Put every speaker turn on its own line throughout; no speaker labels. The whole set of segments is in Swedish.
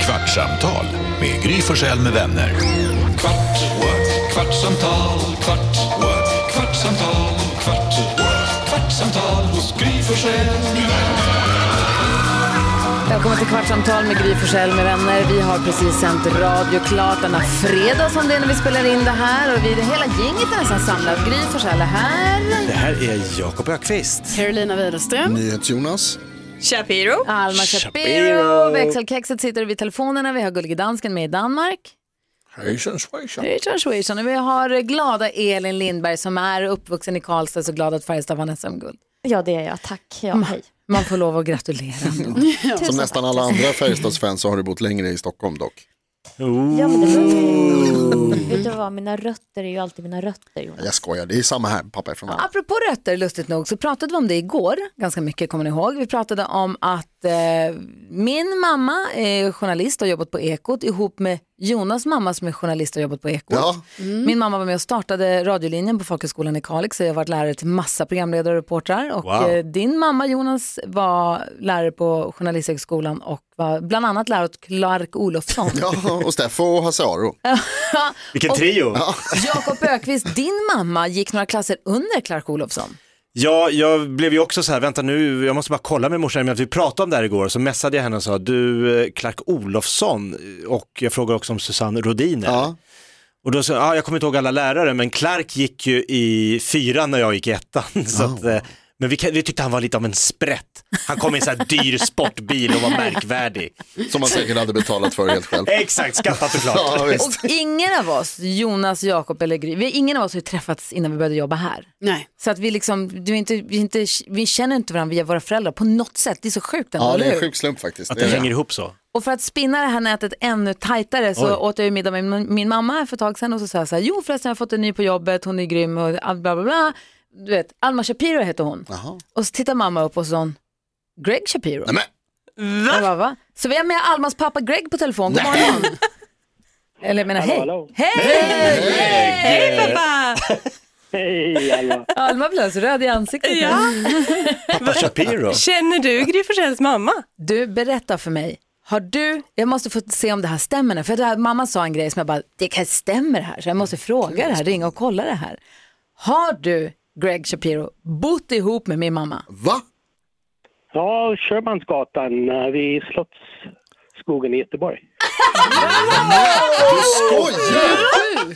Kvartsamtal med Gry Forssell med vänner. Kvart, what? kvartsamtal, kvart, what? kvartsamtal, kvart, what? kvartsamtal hos Gry Forssell med vänner.
Välkommen till Kvartsamtal med Gry Forssell med vänner. Vi har precis sänt radio klart denna fredag som det är när vi spelar in det här. Och vi, hela gänget är nästan samlat. Gry Forssell är här.
Det här är Jakob Ökvist.
Carolina Widerström.
NyhetsJonas.
Shapiro.
Alma Shapiro.
Shapiro.
Växelkexet sitter vid telefonerna. Vi har Gullige Dansken med i Danmark.
Hejsan svejsan.
Richard Schweitzson. Och vi har glada Elin Lindberg som är uppvuxen i Karlstad så glad att Färjestad vann SM-guld.
Ja, det är jag. Tack. Ja, hej.
Man får lov att gratulera ändå.
Som nästan alla andra Färjestadsfans så har du bott längre i Stockholm dock.
Ja, men det var... Vet du vad, mina rötter är ju alltid mina rötter, Jonas.
Jag skojar, det är samma här, pappa är från här.
Apropå rötter, lustigt nog, så pratade vi om det igår, ganska mycket kommer ni ihåg. Vi pratade om att eh, min mamma är journalist och har jobbat på Ekot ihop med Jonas mamma som är journalist och har jobbat på Ekot. Mm.
Ja.
Min mamma var med och startade radiolinjen på folkhögskolan i Kalix och jag har varit lärare till massa programledare och reportrar. Och
Wow.
eh, din mamma Jonas var lärare på Journalisthögskolan och var bland annat lärare åt Clark Olofsson.
Ja, och Steffo och Hasaro.
Vilken trio! Ja.
Jakob Ökvist, din mamma gick några klasser under Clark Olofsson.
jag blev ju också så här, vänta nu, jag måste bara kolla med morsan, men vi pratade om det här igår, så messade jag henne och sa, du eh, Clark Olofsson, och jag frågade också om Susanne Rodiner.
Ja.
Och då sa jag, ah, jag kommer inte ihåg alla lärare, men Clark gick ju i fyran när jag gick i ettan. Så att, eh, men vi, kan- vi tyckte han var lite av en sprätt. Han kom i en sån här dyr sportbil och var märkvärdig.
Som man säkert hade betalat för helt själv.
Exakt, skattat och klart.
Ja, visst.
Och ingen av oss, Jonas, Jakob eller Gry, vi, ingen av oss har ju träffats innan vi började jobba här.
Nej.
Så att vi liksom, du är inte, vi, är inte, vi känner inte varandra via våra föräldrar på något sätt. Det är så sjukt ändå,
Ja, det
eller
är
hur?
en sjuk slump faktiskt.
Att
Det
det
är det.
hänger ihop så.
Och för att spinna det här nätet ännu tajtare så
Oj.
åt jag ju middag med min, min mamma här för ett tag sedan och så sa jag så här, jo förresten jag har fått en ny på jobbet, hon är grym och all- bla bla bla. Du vet, Alma Shapiro heter hon.
Jaha.
Och så tittar mamma upp och så sa hon, Greg Shapiro.
Nej, men,
Jag bara, va? Så vi har med Almas pappa Greg på telefon, god morgon. Eller jag menar hej.
hallå.
Hej! Hej pappa!
Hej alla!
Alma blir alltså röd i ansiktet.
Ja,
Pappa Shapiro.
känner du Gry Forssells mamma?
Du, berätta för mig. Har du, jag måste få se om det här stämmer nu, för det här, mamma sa en grej som jag bara, det kan stämmer det här, så jag måste fråga det här, ringa och kolla det här. Har du, Greg Shapiro, bott ihop med min mamma?
va?
Ja, Sjömansgatan eh, vid Slottsskogen i Göteborg.
Skojar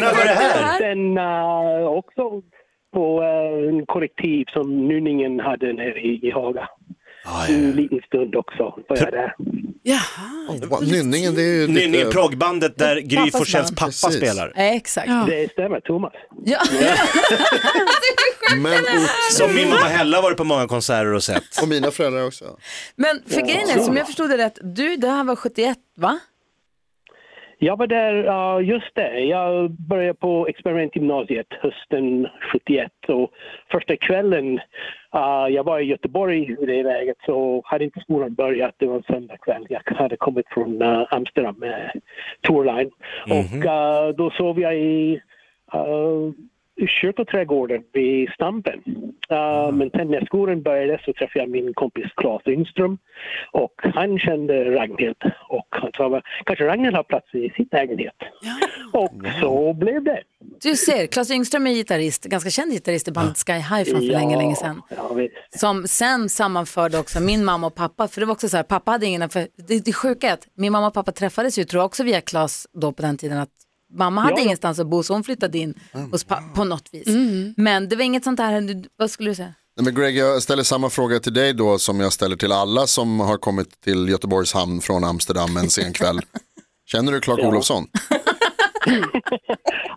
När var det här?
Sen eh, också på eh, en kollektiv som Nynningen hade nere i, i Haga. En liten stund också var jag där.
Jaha.
Wow, Nynningen, det är ju
Ny- ny-
lite...
Progbandet där Gry
Pappas
Forssells
band.
pappa
Precis.
spelar.
Ja, exakt. Alltså,
Det stämmer, Thomas.
Ja.
Men,
Som min mamma Hella varit på många konserter och sett.
och mina föräldrar också.
Men för grejen är, som jag förstod det rätt, du, det här var 71 va?
Jag var där, ja just det, jag började på experimentgymnasiet hösten 71 och första kvällen eh, jag var i Göteborg vid det läget så hade inte skolan börjat, det var en söndagkväll. Jag hade kommit från eh, Amsterdam med Tourline och eh, då sov jag i eh, i kyrkoträdgården vid Stampen. Eh,
Mm.
Men sen när skolan började så träffade jag min kompis Claes Yngström och han kände Ragnhild och han sa kanske Ragnhild har plats i sin lägenhet. Och så blev det.
Du ser, Claes Yngström är gitarrist, ganska känd gitarrist i bandet Sky High från för länge, länge sedan.
Ja, visst.
Som sen sammanförde också min mamma och pappa. För det var också så här, pappa hade ingen, för det, det sjuka är att min mamma och pappa träffades ju, tror jag också via Klas då på den tiden, att mamma hade
Ja, Mm. ja.
ingenstans att bo så hon flyttade in hos pappa på något vis.
Mm.
Men det var inget sånt här, du- vad skulle du säga?
Nej, men Greg, jag ställer samma fråga till dig då som jag ställer till alla som har kommit till Göteborgs hamn från Amsterdam en sen kväll. Känner du Clark Olofsson?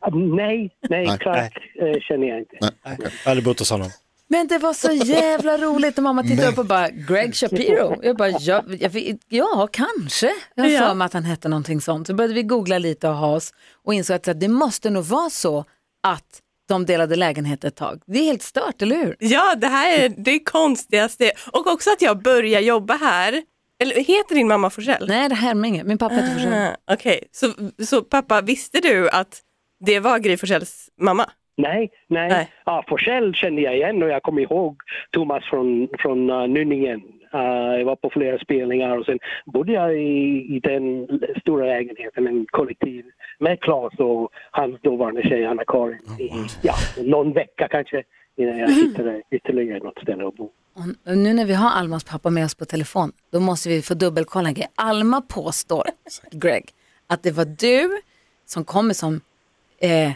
Ah, Nej, nej,
Nej.
Clark eh, känner jag inte.
Aldrig bott hos honom.
Men det var så jävla roligt och mamma tittade upp och bara, Greg Shapiro. Jag bara, ja, jag, fick- ja kanske. Jag har
Ja.
för mig att han hette någonting sånt. Så började vi googla lite och ha oss och insåg att så här, det måste nog vara så att de delade lägenhet ett tag. Det är helt stört, eller hur?
Ja, det här är det konstigaste och också att jag börjar jobba här. Eller heter din mamma Forsell?
Nej, det här med inget. Min pappa heter Forsell.
Ah, Okej, så, så pappa visste du att det var Gry Forssells mamma?
Nej, nej.
Nej.
Ja, Forsell kände jag igen och jag kommer ihåg Thomas från, från uh, Nynningen. Eh, jag var på flera spelningar och sen bodde jag i, i den stora lägenheten, en kollektiv med Claes och hans dåvarande tjej Anna-Karin i ja, någon vecka kanske innan jag hittade ytterligare något ställe att bo.
Och Mm, nu när vi har Almas pappa med oss på telefon, då måste vi få dubbelkolla en grej. Alma påstår, Greg, att det var du som kommer som, eh,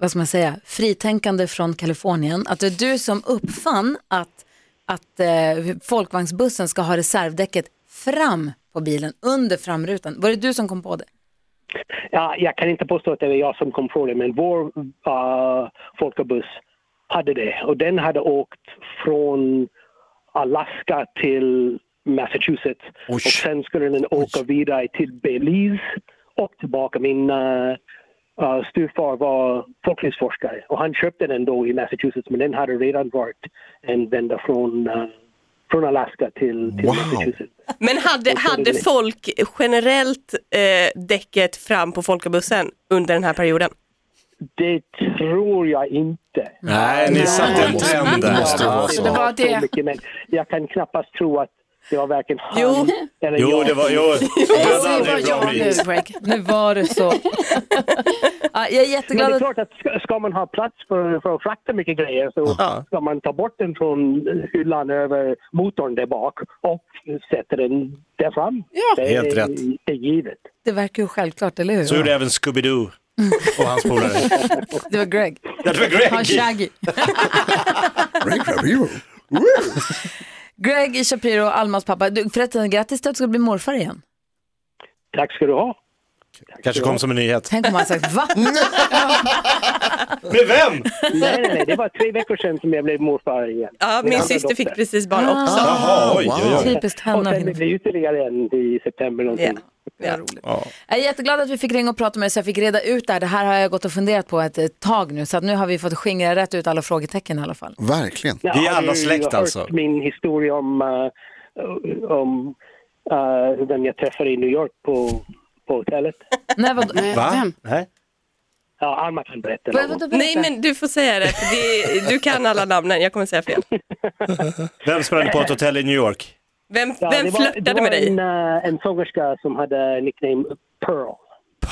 vad ska man säga, fritänkande från Kalifornien. Att det är du som uppfann att, att eh, folkvagnsbussen ska ha reservdäcket fram på bilen, under framrutan. Var det du som kom på det?
Ja, jag kan inte påstå att det var jag som kom på det, men vår uh, folkabuss hade det. Och den hade åkt från Alaska till Massachusetts. Och sen skulle den åka vidare till Belize och tillbaka. Min uh, uh, styvfar var folklivsforskare och han köpte den då i Massachusetts, men den hade redan varit en vända från, uh, från Alaska till, till
Wow.
Massachusetts.
Men hade, hade folk generellt eh, däcket fram på folkabussen under den här perioden?
Det tror jag inte.
Nej, ni satte en trend
Det
där.
måste vara
Ja,
så.
det var
var det.
så mycket, men jag kan knappast tro att det var varken han
Jo.
eller
Jo,
jag.
det var, jo.
Säg
Brödan är
vad
en bra
jag nu,
bit.
Greg.
Nu var det så. ja, jag är
Men det är
jätteglad att...
klart att ska- ska man ha plats för, för att frakta mycket grejer så
Ja.
ska man ta bort den från hyllan över motorn där bak och sätta den där fram. det är,
Helt rätt.
Det är givet.
Det verkar ju självklart, eller hur?
Så gjorde även Scooby-Doo och hans polare.
Det var Greg.
Det var
Han
Greg.
Shaggy.
Greg Shapiro.
Greg Shapiro, Almas pappa. Du, förresten, grattis till att du ska bli morfar igen.
Tack ska du ha.
Kanske kom som en nyhet.
Tänk om han sagt va?
Med vem?
Nej, nej, nej, det var tre veckor sedan som jag blev morfar igen.
Ja, min
andra
syster fick
dotter.
precis barn
Ah.
också.
Jaha, oj, oj, oj.
Typiskt
Och
henne. att
sen
hinna
blev det ytterligare en i september någonting.
Ja. Ja.
Jag är jätteglad att vi fick ringa och prata med dig så jag fick reda ut det här. Det här har jag gått och funderat på ett eh, tag nu så att nu har vi fått skingra rätt ut alla frågetecken i alla fall.
Verkligen.
Ja,
Vi är alla
har du
släkt,
hört
alltså.
min historia om, eh, om eh, den jag träffade i New York på, på hotellet?
Nej, vad,
Nej,
Va?
vem?
Nej.
Ja, Alma kan berätta.
vad,
något.
vad,
Nej, men du får säga det. för det du kan alla namnen, jag kommer säga fel.
Vem sprang på ett hotell i New York?
Vem,
Ja,
vem
det var-
flörtade med
Det
dig?
var en, eh, en sångerska som hade nickname Pearl.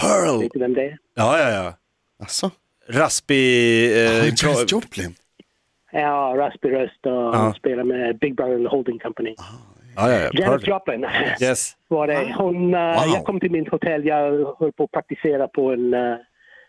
Pearl.
Vet du vem det är?
Ja, ja, ja.
Alltså,
Raspig... Eh,
Ah, Janis
kro-
Joplin.
Ja, raspig röst och hon spelar med Big Brother Holding Company.
ja, ja, ja.
Janis
Pearl.
Joplin
Yes.
var det. Hon, eh,
Wow.
Jag kom till mitt hotell, jag höll på att praktisera på en, eh,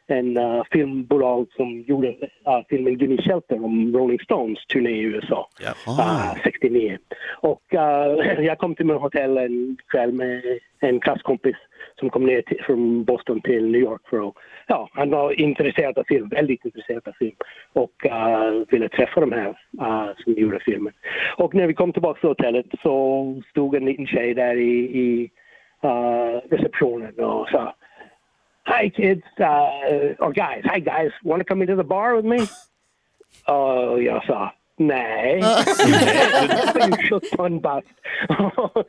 en eh, filmbolag som gjorde eh, filmen Gimme Shelter om Rolling Stones turné i USA.
Ja.
Ah, 69. Och eh, jag kom till mitt hotell en kväll med en klasskompis som kom ner till, från Boston till New York för att, ja, han var intresserad av film, väldigt intresserad av film och eh, ville träffa de här eh, som gjorde filmen. Och när vi kom tillbaka till hotellet så stod en liten tjej där i, i eh, receptionen och sa Hi kids, uh, or guys, hi guys, want to come into the bar with me? Och jag sa nej. Jag var ju 17 bast. Ja,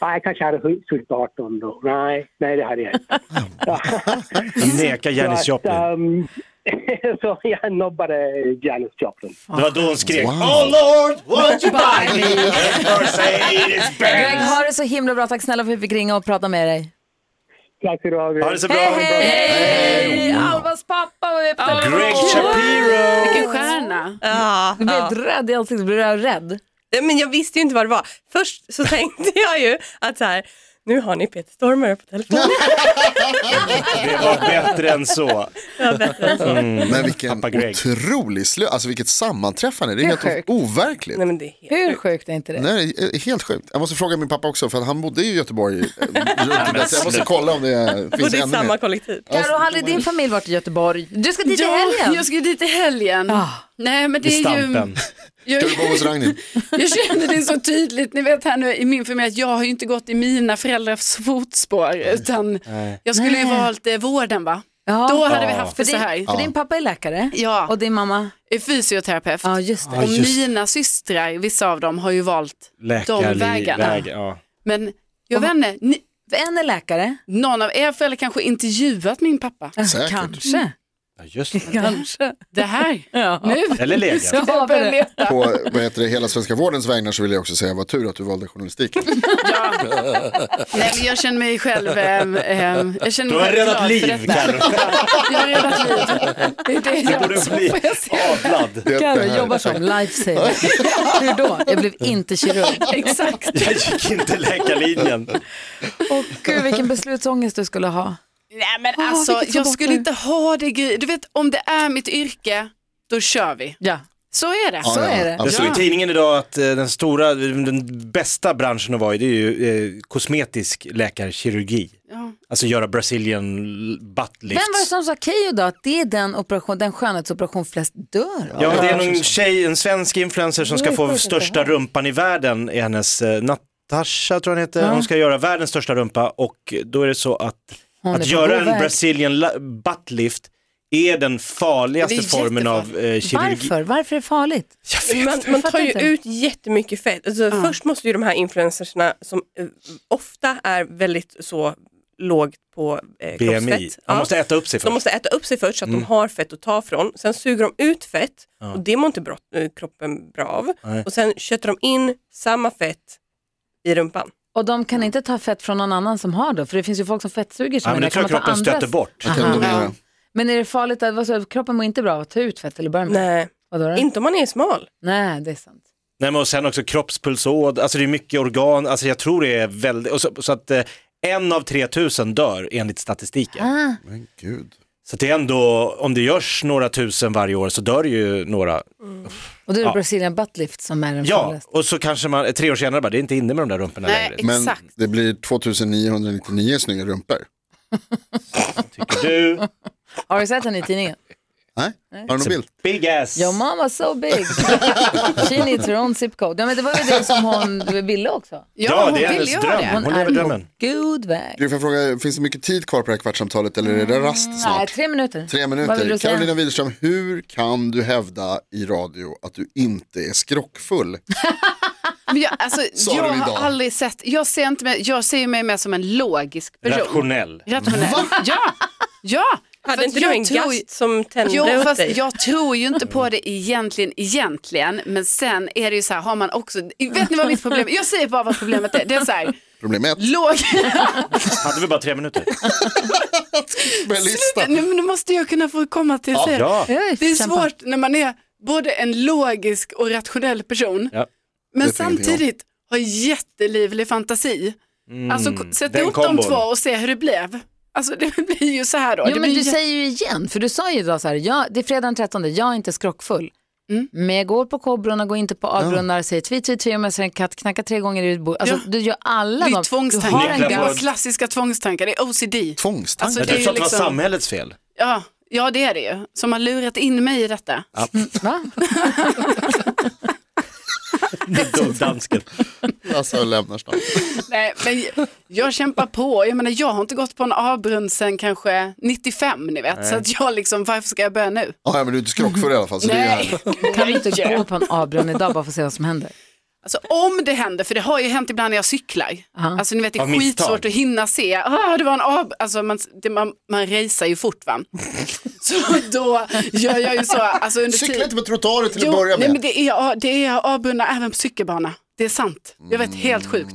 Jag kanske hade fyllt 18 då. Nej, nej det hade jag inte.
Neka Janis
Så att,
Joplin.
ehm, så jag nobbade Janis Joplin.
Det var då hon skrek
Wow.
Oh Lord, won't you buy me a Mercedes
Greg,
Benz?
ha det så himla bra. Tack snälla för att vi fick ringa och prata med dig.
Tack ska du ha.
Ha det så bra.
Hej, hej! Almas pappa var med på telefon.
Greg Shapiro.
Vilken stjärna.
Ja,
Du
ja.
blev röd i ansiktet, blev jag rädd?
Nej, Eh, Men jag visste ju inte vad det var. Först så tänkte jag ju att så här, nu har ni Peter Stormare på telefonen.
Det var bättre än så.
Men vilken
Mm. Pappa Greg.
otrolig slö... Alltså vilket sammanträffande. Det är,
Det är
helt overkligt.
Nej, men det är helt...
Hur sjukt är inte det?
Nej, det är eh, helt sjukt. Jag måste fråga min pappa också, för att han bodde i Göteborg. eh, runt det. Så jag måste kolla om det
Och
finns
det är
ännu
samma
mer.
kollektiv.
Carro, hade din familj varit i Göteborg? Du ska dit i helgen. Ah.
jag ska ju dit i helgen. Nej, men det
I
är ju...
stampen.
Jag,
Ska du bo hos Ragnhild?
jag känner det så tydligt, ni vet här nu i min familj att jag har ju inte gått i mina föräldrars fotspår utan jag skulle ju valt eh, vården va?
Ja.
Då hade vi
Ja.
haft
För
det så
din,
här.
för din pappa är läkare
Ja.
och din mamma
är fysioterapeut.
Ja, just det.
Och mina systrar, vissa av dem har ju valt de vägarna.
Läkarväg, ja.
Men jag vet inte, ni,
En är läkare,
någon av er föräldrar kanske intervjuat min pappa.
Säkert.
kanske.
Ja, just det.
Kanske.
Det här,
Ja.
nu.
Eller legat.
Ja,
Jag börjar
men-
leta.
På vad heter det, hela svenska vårdens vägnar så vill jag också säga, vad tur att du valde journalistiken.
Nej, men jag känner mig själv... ehm, ehm, jag känner
Du
mig
har
själv
räddat
glad för
liv,
detta.
Carro.
Jag har räddat liv. Det är det
Du
jag
borde
också
bli
får jag se.
adlad.
Det är det
Carro
här.
jobbar som lifesaver. Hur då? Jag blev inte kirurg.
Exakt.
Jag gick inte läkarlinjen.
Och gud vilken beslutsångest du skulle ha.
Nej men
Ah,
alltså,
vilket
jag
så
skulle
bort
inte ha det grej. Du vet, om det är mitt yrke, då kör vi.
Ja.
Så är det.
Ja,
Så
ja,
är det.
Det
absolut.
stod i tidningen idag att eh, den stora, den bästa branschen att vara i det är ju eh, kosmetisk läkarkirurgi.
Ja.
Alltså göra Brazilian butt
Vem
lifts.
var det som sa Keyyo då att det är den, operation, den skönhetsoperation flest dör av?
Ja, det är någon tjej, en svensk influencer som ska få största rumpan i världen i hennes, eh, Natasha tror jag hon heter, hon ska göra världens största rumpa och då är det så att,
Hon är
att
på
göra
god
en
väg.
Brazilian la- butt lift är den farligaste
Det är
formen av eh, kirurgi.
Varför? Varför är det farligt?
Man,
Jag
man tar
fattar
ju
inte.
ut jättemycket fett. Alltså, Först måste ju de här influencersna som eh, ofta är väldigt så lågt på eh,
BMI.
kroppsfett.
Man
Ja.
måste äta upp sig
De
först.
måste äta upp sig först så att de har fett att ta från. Sen suger de ut fett och det mår inte brott, eh, kroppen bra av.
Nej.
Och sen köter de in samma fett i rumpan.
Och de kan inte ta fett från någon annan som har då? För det finns ju folk som fettsuger sig.
Ja, men det
där. Kan
tror jag
man ta
kroppen
andras?
stöter bort.
Kan de göra.
Men är det farligt att, vad så, kroppen mår inte bra av att ta ut fett eller börja med?
Nej,
Vadå då?
inte om man är smal.
Nej, det är sant.
Nej, men och sen också kroppspulsåd, alltså det är mycket organ, alltså jag tror det är väldigt, och så, så att eh, en av 3000 dör enligt statistiken.
Ah,
Men gud.
Så det är ändå, om det görs några tusen varje år så dör ju några.
och då är det
Ja.
Brazilian butt lift som är den
Ja,
farligaste.
och så kanske man, eh, tre år senare bara, det är inte inne med de där rumporna
Nej.
längre.
Men
Exakt.
det blir 2999 snygga rumpor.
Tycker du?
Har du sett den i tidningen?
Nej, har du någon bild?
Big ass!
Your mom was so big. She needs her own zip code. Ja, men det var ju det som hon ville också.
Ja,
Ja,
hon
det är
vill
hennes
göra
dröm.
det.
Hon
är
lever drömmen.
på god väg.
Gry, får jag fråga, finns det mycket tid kvar på det här kvartssamtalet eller är det rast
Mm, Nej,
snart?
tre minuter.
Tre
Vad vill
minuter.
du säga?
Carolina Widerström, hur kan du hävda i radio att du inte är skrockfull?
Men jag, alltså,
Sa
jag
de
har
idag?
aldrig sett, jag ser, inte mig, jag ser mig mer som en logisk person.
Rationell.
Rationell. Ja, ja.
Hade
För
inte
jag
du en
tror-
gast som tände
Jo,
åt
fast
dig?
jag tror ju inte på det egentligen, egentligen, men sen är det ju så här, har man också, vet ni vad mitt problem är? Jag säger bara vad problemet är, det är så här,
Problem ett,
låg,
Hade vi bara tre minuter?
med lista.
nu, nu måste jag kunna få komma till ja,
Ja,
Oj,
Det är
kämpa.
svårt när man är både en logisk och rationell person,
Ja.
men
Vet ingenting om.
samtidigt har jättelivlig fantasi. alltså k- sätt
Mm. den
ihop de
kombon.
två och se hur det blev. Alltså det blir ju så här då.
Jo,
det
men
blir
du
jä-
säger ju igen, för du sa ju idag så här, jag, det är fredag den 13, jag är inte skrockfull.
Mm.
Men jag går på kobrorna, går inte på avbrunnar, säger tvi, tvi, tvi om jag ser en katt, knacka tre gånger i ditt bord. Alltså,
Ja.
Du gör alla
det är
de.
ju
Du har
tvångstankar,
en
det är
gammal-
våra
gast.
klassiska tvångstankar, det är OCD.
Tvångstanke.
Alltså,
Jag
det
trodde
är ju
att det var
liksom,
samhällets fel.
ja, ja, det är det ju. Som har lurat in mig i detta.
Va?
Dum Dansken.
Alltså, jag lämnar snart.
Nej, men jag, jag kämpar på. Jag menar, jag har inte gått på en avbrunn sen kanske 95, ni vet. Så att jag liksom, varför ska jag börja nu?
Ja, ja, men du är inte skrockfull i alla fall. Så det är ju härligt.
Kan du inte gå på en avbrunn idag bara för att se vad som händer?
Alltså om det händer, för det har ju hänt ibland när jag cyklar. Alltså ni vet det är
Av misstag.
skitsvårt att hinna se. Ah, det var en av... Alltså man, det, man, man racear ju fort va. så då gör jag ju så. Alltså,
typ-
under
Cykla
tid-
inte med trottoarer till
Jo,
att börja
nej, men
med.
det är, det är avbundna även på cykelbana. Det är sant. Jag vet,
Mm.
helt sjukt.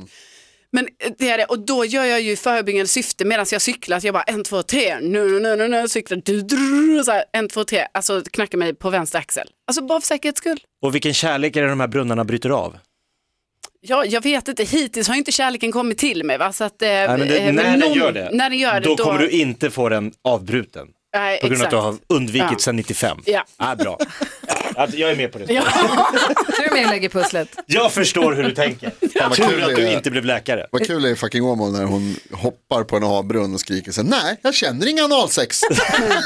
Men eh, det är det, och då gör jag ju förebyggande syfte medan jag cyklar, att jag bara en, två, tre, nu, nu, nu, nu, cyklar, du, du, så här, en, två, tre, alltså knackar mig på vänster axel. Alltså bara för säkerhets skull.
Och vilken kärlek är det de här brunnarna bryter av?
Ja, jag vet inte, hittills har ju inte kärleken kommit till mig. Va? Så att, eh,
Nej, men det,
eh,
när,
någon-
den gör det,
när den gör det,
då, kommer du inte få den avbruten.
Nej,
På grund av att
exakt.
du har undvikit
Ja.
sedan 95.
Ja.
Ah, bra. Att jag är med på det.
Tror du med jag lägger pusslet?
Jag förstår hur du tänker.
vad kul
Tur att
det
du
är.
inte blev läkare.
Vad kul det är i fucking Åmål när hon hoppar på en avbrunn och skriker så här, nej, jag känner inga analsex.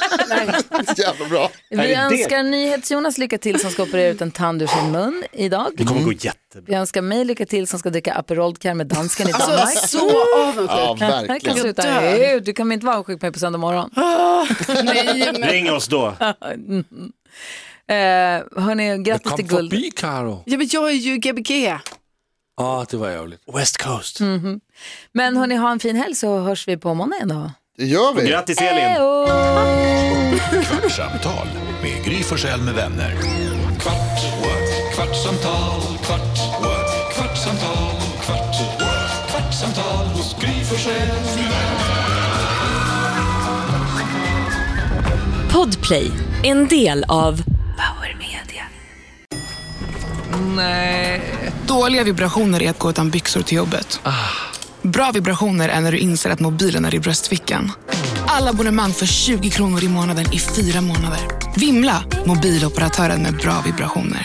Jävla bra.
Vi
Är det
önskar NyhetsJonas lycka till som ska operera ut en tand ur sin mun
Det
idag.
kommer gå
Mm.
jättebra.
Vi önskar mig lycka till som ska dricka Aperol Care med dansken i Danmark.
Alltså, så
Oh
Ja,
avundsjuk.
Jag kan
verkligen.
sluta.
Jag dör.
Hej, Du kommer inte vara avundsjuk på mig på söndag morgon.
Nej, men,
Ring oss då.
Eh, hörni, grattis till
Kom
guld.
förbi Karo.
ja, men jag är ju GBG.
Ja, det var ärligt.
West Coast.
Men hörni, ha en fin helg så hörs vi på måndag igen då.
Det gör vi.
Grattis Elin!
Kvartsamtal med Gry Forssell med vänner. Kvart, what? kvartsamtal, kvart, what? kvartsamtal, kvart, what? kvartsamtal hos Gry Forssell med vänner.
Podplay, en del av Power Media.
Dåliga vibrationer är att gå utan byxor till jobbet. Bra vibrationer är när du inser att mobilen är i bröstfickan. Alla abonnemang för 20 kronor i månaden i fyra månader. Vimla! Mobiloperatören med bra vibrationer.